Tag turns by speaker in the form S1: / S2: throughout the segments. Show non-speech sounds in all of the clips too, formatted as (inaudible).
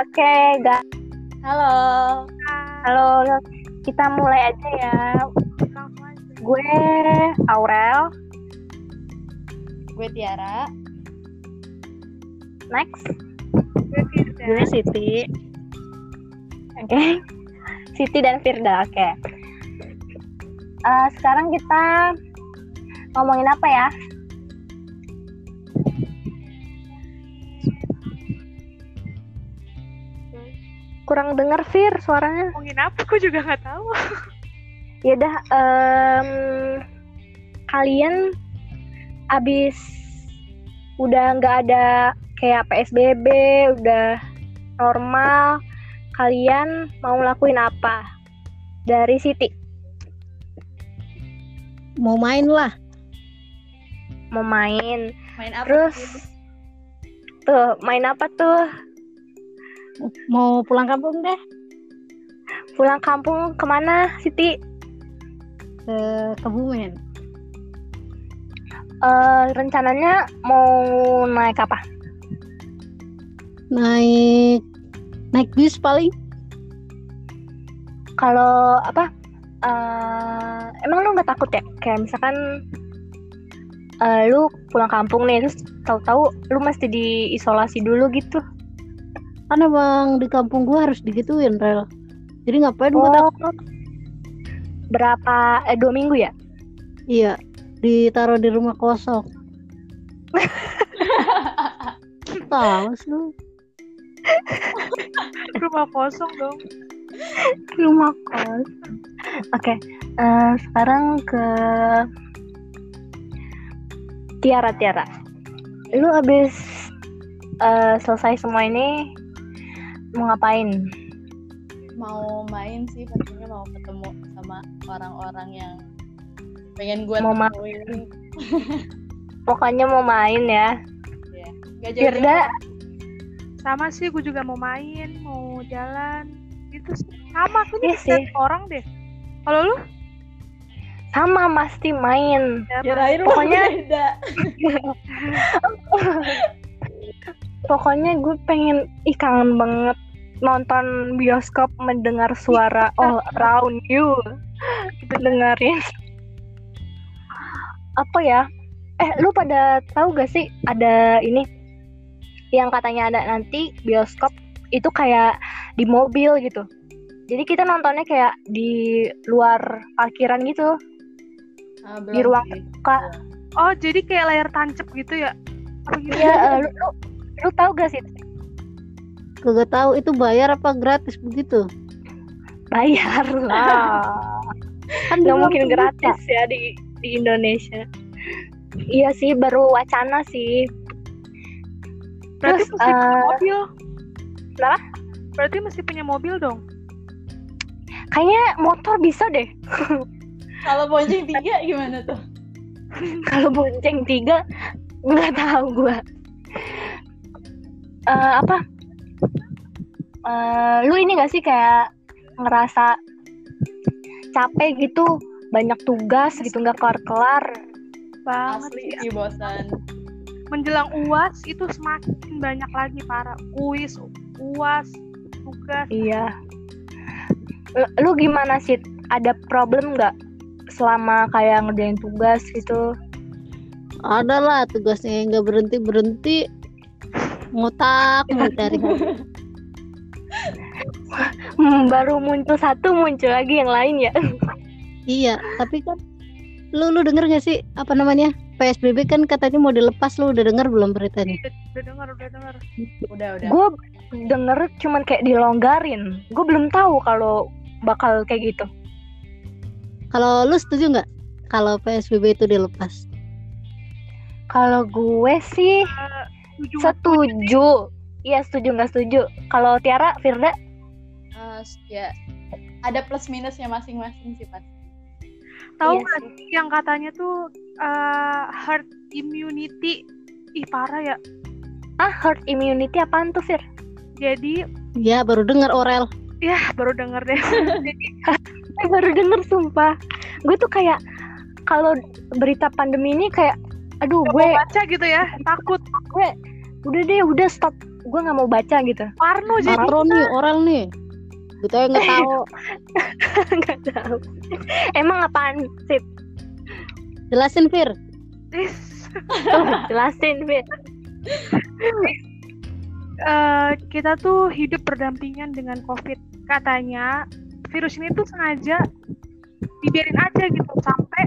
S1: Oke, guys.
S2: Halo.
S1: Halo, kita mulai aja ya. Gue Aurel.
S2: Gue Tiara.
S1: Next. Gue Siti. Oke. Siti dan Firda. Oke. Eh, sekarang kita ngomongin apa ya? Kurang denger Fir suaranya.
S3: ngomongin apa? Aku juga nggak tahu. (laughs)
S1: ya dah em, kalian abis udah nggak ada kayak psbb udah normal kalian mau ngelakuin apa dari Siti
S4: mau main lah
S1: mau main
S2: Main apa?
S1: terus tuh main apa tuh
S4: mau pulang kampung deh
S1: pulang kampung kemana Siti
S4: ke Kebumen
S1: Eh, rencananya mau naik apa
S4: naik naik bus paling
S1: kalau apa eh, emang lu nggak takut ya kayak misalkan eh, lu pulang kampung nih terus tahu-tahu lu mesti diisolasi dulu gitu
S4: kan emang di kampung gua harus digituin rel jadi ngapain gua takut
S1: Oh, berapa eh, dua minggu ya
S4: iya ditaruh di rumah (laughs) kosong tahu sih lu
S3: Rumah kosong dong.
S1: (laughs) rumah kos oke eh, sekarang ke Tiara Tiara lu abis eh, selesai semua ini mau ngapain
S2: Mau main sih pastinya mau ketemu sama orang-orang yang pengen gue
S1: Mau main.
S2: temuin.
S1: pokoknya mau main ya
S2: Gak jadi.
S1: Firda
S3: Sama sih, gue juga mau main, mau jalan. Gitu sih. Sama, aku
S1: Iya
S3: juga
S1: sih.
S3: ngeliat orang deh. Kalau lu?
S1: sama pasti main
S2: Ya, Kirain lu
S1: Pokoknya-
S2: beda.
S1: pokoknya gue pengen ih kangen banget nonton bioskop mendengar suara all around you kita dengerin apa ya eh lu pada tahu gak sih ada ini yang katanya ada nanti bioskop itu kayak di mobil gitu jadi kita nontonnya kayak di luar parkiran gitu
S2: Ah,
S1: Di
S2: belum
S1: ruang
S2: sih.
S1: terbuka.
S3: Oh, jadi kayak layar tancep gitu ya? Apa gitu?
S1: ya eh, lu, lu lu tahu gak sih
S4: kagak tahu itu bayar apa gratis begitu
S1: bayar lah nggak
S4: kan dulu
S1: mungkin
S4: waktu
S1: gratis ya di di Indonesia iya sih baru wacana sih
S3: Berarti
S1: terus,
S3: mesti punya
S1: eh,
S3: mobil.
S1: kenapa?
S3: Berarti mesti punya mobil dong.
S1: kayaknya motor bisa deh (laughs)
S2: Kalau bonceng tiga gimana tuh?
S1: kalau bonceng tiga nggak tahu gua Eh, apa Eh, lu ini gak sih kayak ngerasa capek gitu banyak tugas gitu nggak kelar kelar
S3: Banget
S2: Asli
S3: sih.
S2: sih bosan.
S3: Menjelang UAS itu semakin banyak lagi para kuis, UAS, tugas.
S1: iya Lu- lu gimana sih ada problem nggak selama kayak ngerjain tugas gitu
S4: ada lah tugasnya yang nggak berhenti berhenti (laughs) ngotak mulu dari
S1: Hmm, baru muncul satu muncul lagi yang lain ya.
S4: Iya, tapi kan lu lu denger gak sih apa namanya? PSBB kan katanya mau dilepas lu udah denger belum beritanya?
S3: Udah, udah denger, udah denger.
S2: Udah udah.
S1: Gue denger cuman kayak dilonggarin. Gue belum tahu kalau bakal kayak gitu.
S4: Kalau lu setuju nggak kalau PSBB itu dilepas?
S1: Kalau gue sih
S3: Eh, Ujung
S1: setuju. Iya setuju nggak setuju. Kalau Tiara, Firda,
S2: Ah, ya ada plus minusnya masing-masing sih pasti.
S3: tahu
S1: Iya
S3: nggak sih yang katanya tuh eh, herd immunity ih parah ya
S1: ah herd immunity apaan tuh Fir?
S3: jadi
S4: Ya baru denger Orel.
S3: ya baru denger deh
S1: Gue baru denger sumpah. Gue tuh kayak kalau berita pandemi ini kayak, aduh
S3: Gak
S1: gue
S3: mau baca gitu ya takut
S1: gue udah deh udah stop gue nggak mau baca gitu
S3: Parno jadi
S4: Patron nih orang nih. Gitu ya nggak tahu.
S1: (laughs) nggak tahu emang apaan sih
S4: Jelasin Fir.
S3: Is-
S1: jelasin Fit
S3: eh, kita tuh hidup berdampingan dengan COVID. Katanya virus ini tuh sengaja dibiarin aja gitu sampai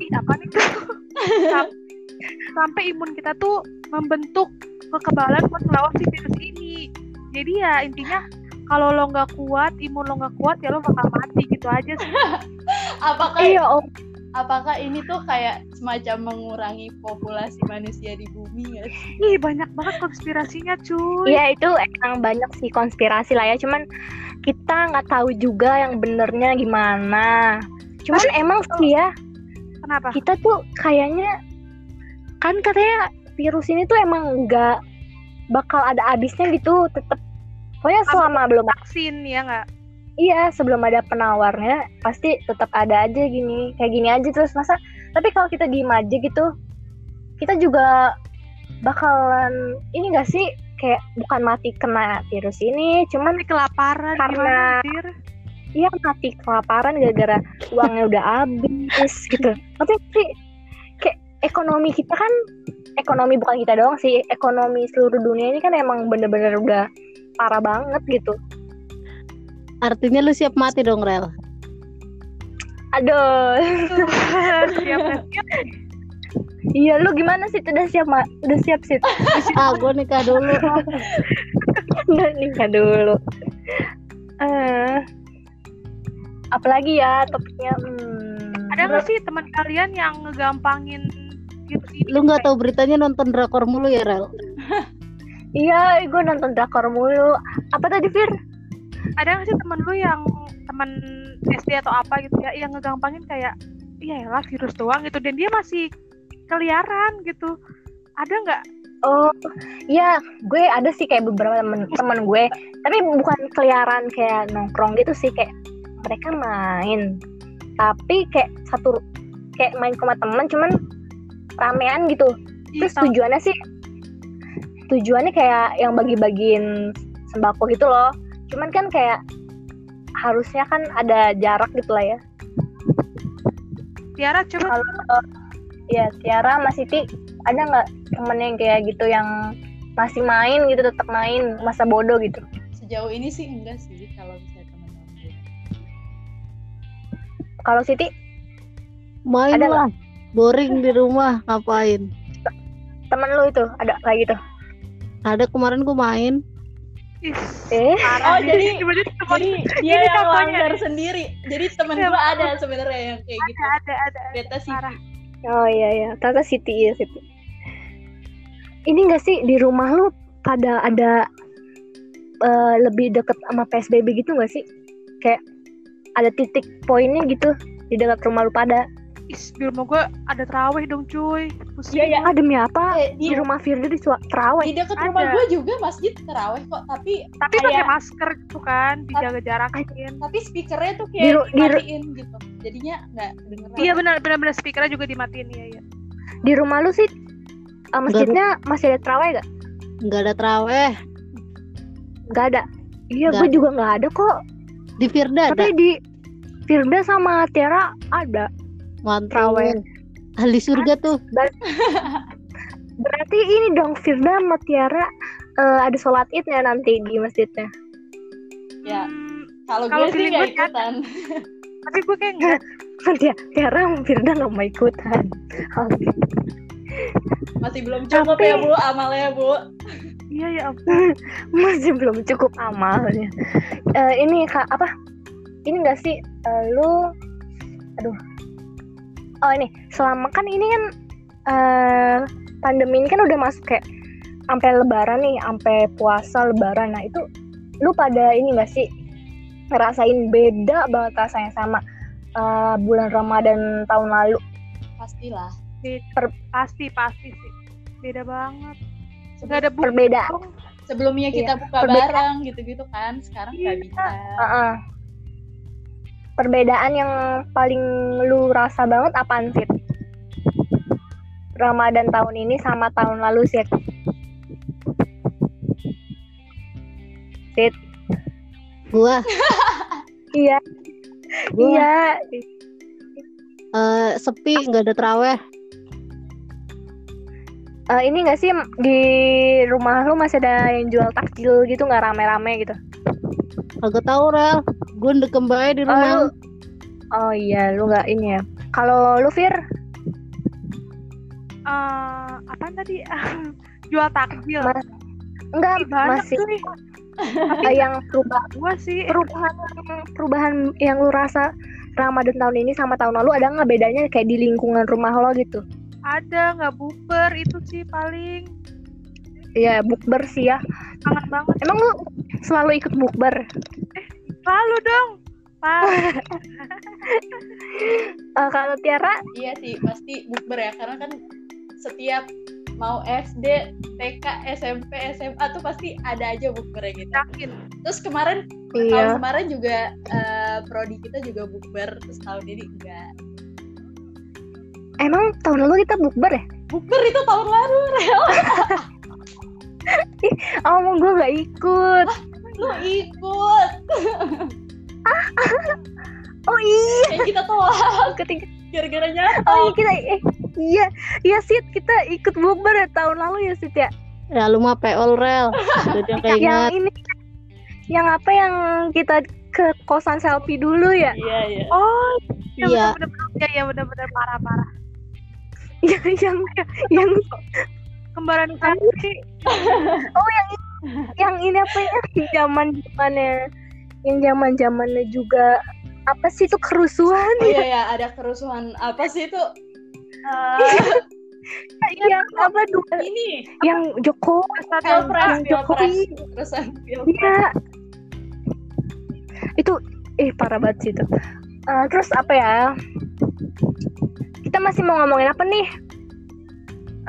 S3: Ih, apa nih (laughs) tuh? Sam- sampai imun kita tuh membentuk kekebalan buat melawan si virus ini. Jadi ya intinya kalau lo nggak kuat, imun lo nggak kuat ya lo bakal mati gitu aja sih.
S2: apakah
S1: iya om
S2: apakah ini tuh kayak semacam mengurangi populasi manusia di bumi nggak
S3: Ih
S2: sih?
S3: banyak banget konspirasinya cuy.
S1: Iya itu emang banyak sih konspirasi lah ya, cuman kita nggak tahu juga yang benernya gimana. Cuman emang sih ya
S3: Kenapa?
S1: kita tuh kayaknya kan katanya virus ini tuh emang nggak bakal ada habisnya gitu, tetep. Pokoknya selama belum
S3: Vaksin ya nggak?
S1: iya sebelum ada penawarnya pasti tetap ada aja gini kayak gini aja terus masa tapi kalau kita diem aja gitu kita juga bakalan ini gak sih kayak bukan mati kena virus ini cuman
S3: Ini kelaparan
S1: Karena-
S3: gimana (laughs) Fir?
S1: iya mati kelaparan gara-gara uangnya udah habis gitu tapi sih kayak ekonomi kita kan ekonomi bukan kita doang sih ekonomi seluruh dunia ini kan emang bener-bener udah parah banget gitu
S4: Artinya lu siap mati dong Rel.
S1: aduh (laughs)
S3: siap siap
S1: Iya, lu gimana sih? Udah siap, Ma? Udah siap sih.
S4: Ah gue nikah dulu.
S1: Nggak nikah dulu. Eh, apalagi ya topiknya? Hmm,
S3: ada nggak sih teman kalian yang ngegampangin gitu sih
S4: Lu nggak tahu beritanya nonton drakor mulu ya Rel.
S1: Iya, gue nonton drakor mulu. Apa tadi, Fir?
S3: ada nggak sih temen lu yang temen SD atau apa gitu ya yang ngegampangin kayak iya lah virus doang gitu dan dia masih keliaran gitu ada nggak
S1: Oh, iya, gue ada sih kayak beberapa temen, temen gue. Tapi bukan keliaran kayak nongkrong gitu sih, kayak mereka main. Tapi kayak satu kayak main ke rumah temen, cuman ramean gitu.
S3: Ih,
S1: Terus
S3: tau-
S1: tujuannya sih tujuannya kayak yang bagi-bagiin sembako gitu loh. Cuman kan kayak harusnya kan ada jarak gitu lah ya.
S3: Tiara coba
S1: Kalau ya Tiara Mas Siti ada nggak temen yang kayak gitu yang masih main gitu tetap main masa bodoh gitu.
S2: sejauh ini sih enggak sih kalau misalnya teman-teman gue.
S1: Kalau Siti
S4: Main
S1: Ada
S4: lah. Boring di rumah ngapain?
S1: temen lu itu ada kayak gitu.
S4: Ada kemarin gue main.
S3: Ih,
S1: Eh,
S3: parah
S2: Oh,
S3: nih. (laughs)
S2: jadi-
S3: Tiba-tiba temen
S2: jadi dia
S3: ini
S2: yang
S3: contohnya
S2: langgar
S3: nih.
S2: sendiri jadi temen
S3: Iya,
S2: gue ada sebenarnya yang kayak gitu
S3: ada ada ada
S2: beta sih
S3: parah
S1: oh iya ya, ternyata Siti ya Siti. Ini enggak sih di rumah lu pada ada eh, lebih deket sama PSBB gitu nggak sih? Kayak ada titik poinnya gitu di dekat rumah lu pada.
S3: Ih, di rumah gue ada terawih dong cuy pusing
S2: Iya, iya.
S1: Ah demi apa?
S2: Eh,
S1: Di
S2: di,
S1: rumah Firda di sua- terawih.
S2: di dekat
S3: ada.
S2: rumah gue juga masjid terawih kok tapi
S3: tapi pakai
S2: Kayak-
S3: masker gitu kan dijaga jarakin
S2: tapi speakernya tuh
S1: Di
S2: kayak
S1: ru- di ru-
S2: dimatiin gitu jadinya nggak dengeran
S3: Iya benar benar-benar speakernya juga dimatiin iya iya.
S1: Di rumah lu sih eh, masjidnya masih ada terawih gak?
S4: Nggak ada traweh.
S1: Gak ada. Iya,
S4: Nggak
S1: gue juga nggak ada kok.
S4: Di Firda
S1: Tapi
S4: ada.
S1: di Firda sama Tiara ada.
S4: Mantau.
S1: traweh.
S4: Ahli surga tuh.
S1: Berarti ini dong Firda sama Tiara eh, ada sholat id ya nanti di masjidnya. (laughs)
S2: Ya.
S3: Hmm,
S2: kalau
S3: Kalau
S2: gue sih
S3: feeling
S2: nggak
S3: gue kan-
S2: ikutan
S3: tapi gue kayak nggak
S1: Tia- Tiara sama Firda nggak mau ikutan.
S2: masih belum cukup
S1: Tapi-
S2: ya bu amalnya bu
S3: iya ya ampun.
S1: (laughs) masih belum cukup amalnya. Eh, ini kak apa? Ini enggak sih eh, lu? Aduh. Oh ini selama kan ini kan eh, pandemi ini kan udah masuk kayak sampai Lebaran nih, sampai puasa Lebaran. Nah itu lu pada ini enggak sih ngerasain beda banget rasanya sama eh, bulan Ramadan tahun lalu?
S2: pastilah
S3: pasti pasti sih beda banget. Gak
S2: Sebelum-
S3: ada bukti
S1: Perbedaan.
S3: dong.
S2: sebelumnya kita buka
S1: perbedaan.
S2: bareng gitu-gitu kan sekarang nggak
S3: Iya.
S2: bisa
S1: Heeh. Perbedaan yang paling lu rasa banget apaan Fit? Ramadan tahun ini sama tahun lalu sih. Tit.
S4: Gua,
S1: Iya,
S4: gua
S1: iya.
S4: eh, sepi nggak ada traweh.
S1: Eh, ini nggak sih di rumah lu masih ada yang jual takjil gitu nggak rame-rame gitu?
S4: Kagak tahu Rel. Gua ndekem bae di
S1: Oh, lu,
S4: rumah.
S1: oh iya, lu nggak ini ya. Kalau lu Fir,
S3: Eh, apaan tadi? (laughs) Jual takjil.
S1: Mas- enggak
S3: Ih, banyak
S1: masih
S3: nih
S1: eh, yang perubahan
S3: gua sih.
S1: perubahan perubahan yang lu rasa Ramadan tahun ini sama tahun lalu ada nggak bedanya kayak di lingkungan rumah lo gitu?
S3: Ada nggak buper itu sih paling
S1: Iya, bukber sih ya.
S3: kangen banget.
S1: Emang lu selalu ikut bukber?
S3: Lalu dong. Pak,
S1: Eh, kalau Tiara,
S2: Iya sih, pasti bukber ya karena kan setiap mau SD, TK, SMP, SMA tuh pasti ada aja bukbernya gitu.
S3: yakin.
S2: Terus kemarin tahun
S1: iya.
S2: kemarin juga eh, prodi kita juga bukber, terus tahun ini enggak.
S1: Emang tahun lalu kita bukber ya?
S2: Bukber itu tahun lalu, Rel.
S1: Oh, mau gue nggak ikut.
S2: Lu ikut.
S1: Oh iya,
S2: Kayak kita tolak
S1: ketika
S2: gara-gara
S1: oh iya
S2: nyata.
S1: kita eh iya iya Sid kita ikut bukber ya tahun lalu ya Sid ya.
S4: Ya lu mah peol Rel. Udah dia
S1: Yang
S4: keinget.
S1: ini yang apa yang kita ke kosan selfie dulu ya? (laughs)
S2: Iya, iya.
S3: Oh, ya
S4: Iya.
S3: bener-bener ya, ya bener-bener parah-parah.
S1: yang yang yang
S3: Kembaran kamu sih
S1: yang ini apa ya? Yang zaman zamannya yang zaman zamannya juga apa sih itu kerusuhan
S2: Oh iya ya, ada kerusuhan apa sih itu?
S3: eh,
S1: yang apa dua
S2: Ini
S1: yang Joko
S3: Stadion
S2: Pilpres,
S1: yang
S2: Pilpres,
S1: Jokowi
S2: kerusuhan Pilpres.
S1: Iya. Itu eh parah banget sih itu. Eh, terus apa ya? Kita masih mau ngomongin apa nih?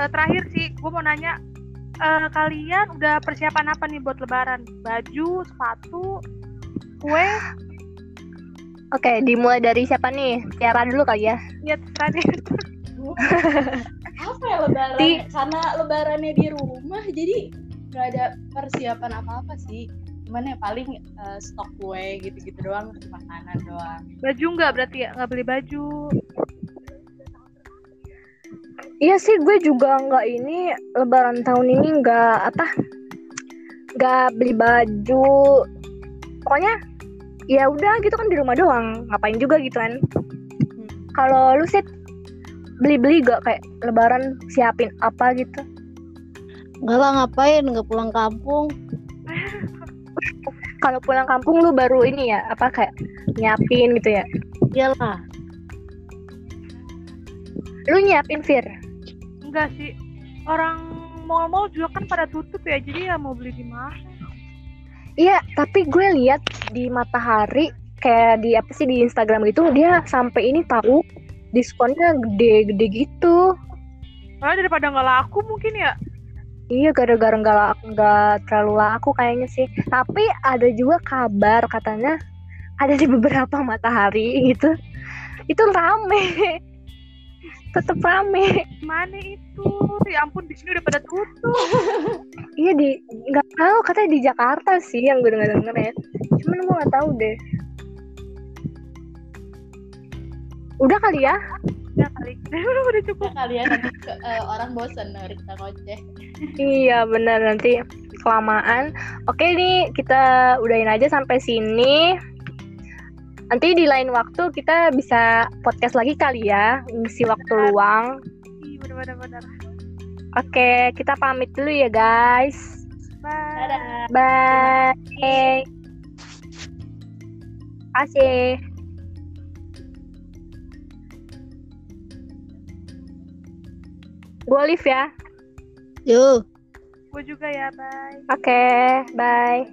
S3: Eh, terakhir sih gue mau nanya eh, kalian udah persiapan apa nih buat lebaran baju sepatu kue
S1: Oke, dimulai dari siapa nih? Tiara dulu kali ya.
S3: ya tadi
S2: apa ya lebaran
S1: Ti-
S2: karena lebarannya di rumah jadi nggak ada persiapan apa apa sih cuman ya paling eh, stok kue gitu-gitu doang makanan doang
S3: baju nggak berarti ya nggak beli baju
S1: Iya sih, gue juga nggak ini Lebaran tahun ini nggak apa, nggak beli baju. Pokoknya ya udah gitu kan di rumah doang. Ngapain juga gitu kan?
S2: Hmm.
S1: Kalau lu sih beli-beli gak kayak Lebaran siapin apa gitu?
S4: Enggak lah ngapain enggak pulang kampung.
S1: kalau pulang kampung lu baru ini ya apa kayak nyiapin gitu ya
S4: Iyalah.
S1: lu nyiapin Fir
S3: enggak sih orang mall-mall juga kan pada tutup ya jadi ya mau beli di mana
S1: iya tapi gue lihat di matahari kayak di apa sih di Instagram gitu dia sampai ini tahu diskonnya gede-gede gitu
S3: Padahal daripada nggak laku mungkin ya
S1: iya gara-gara nggak la- nggak terlalu laku kayaknya sih tapi ada juga kabar katanya ada di beberapa matahari gitu itu rame (laughs) tetep rame
S3: mana itu ya ampun di sini udah pada tutup
S1: Iya di nggak tahu katanya di Jakarta sih yang gue denger denger ya. Cuman gue nggak tahu deh. Udah kali ya?
S3: ya kali (laughs) udah cukup
S2: Nah, kalian nanti ke- eh, orang bosen dengerin kita ngoceh
S1: Iya benar nanti kelamaan. Oke nih kita udahin aja sampai sini. Nanti di lain waktu kita bisa podcast lagi kali ya, ngisi waktu luang.
S3: Ih, bener-bener
S1: Oke, kita pamit dulu ya guys.
S3: bye
S2: dadah
S1: Bye. Kasih. Gue live ya.
S4: Yuk.
S3: gue juga ya bye
S1: Oke, bye.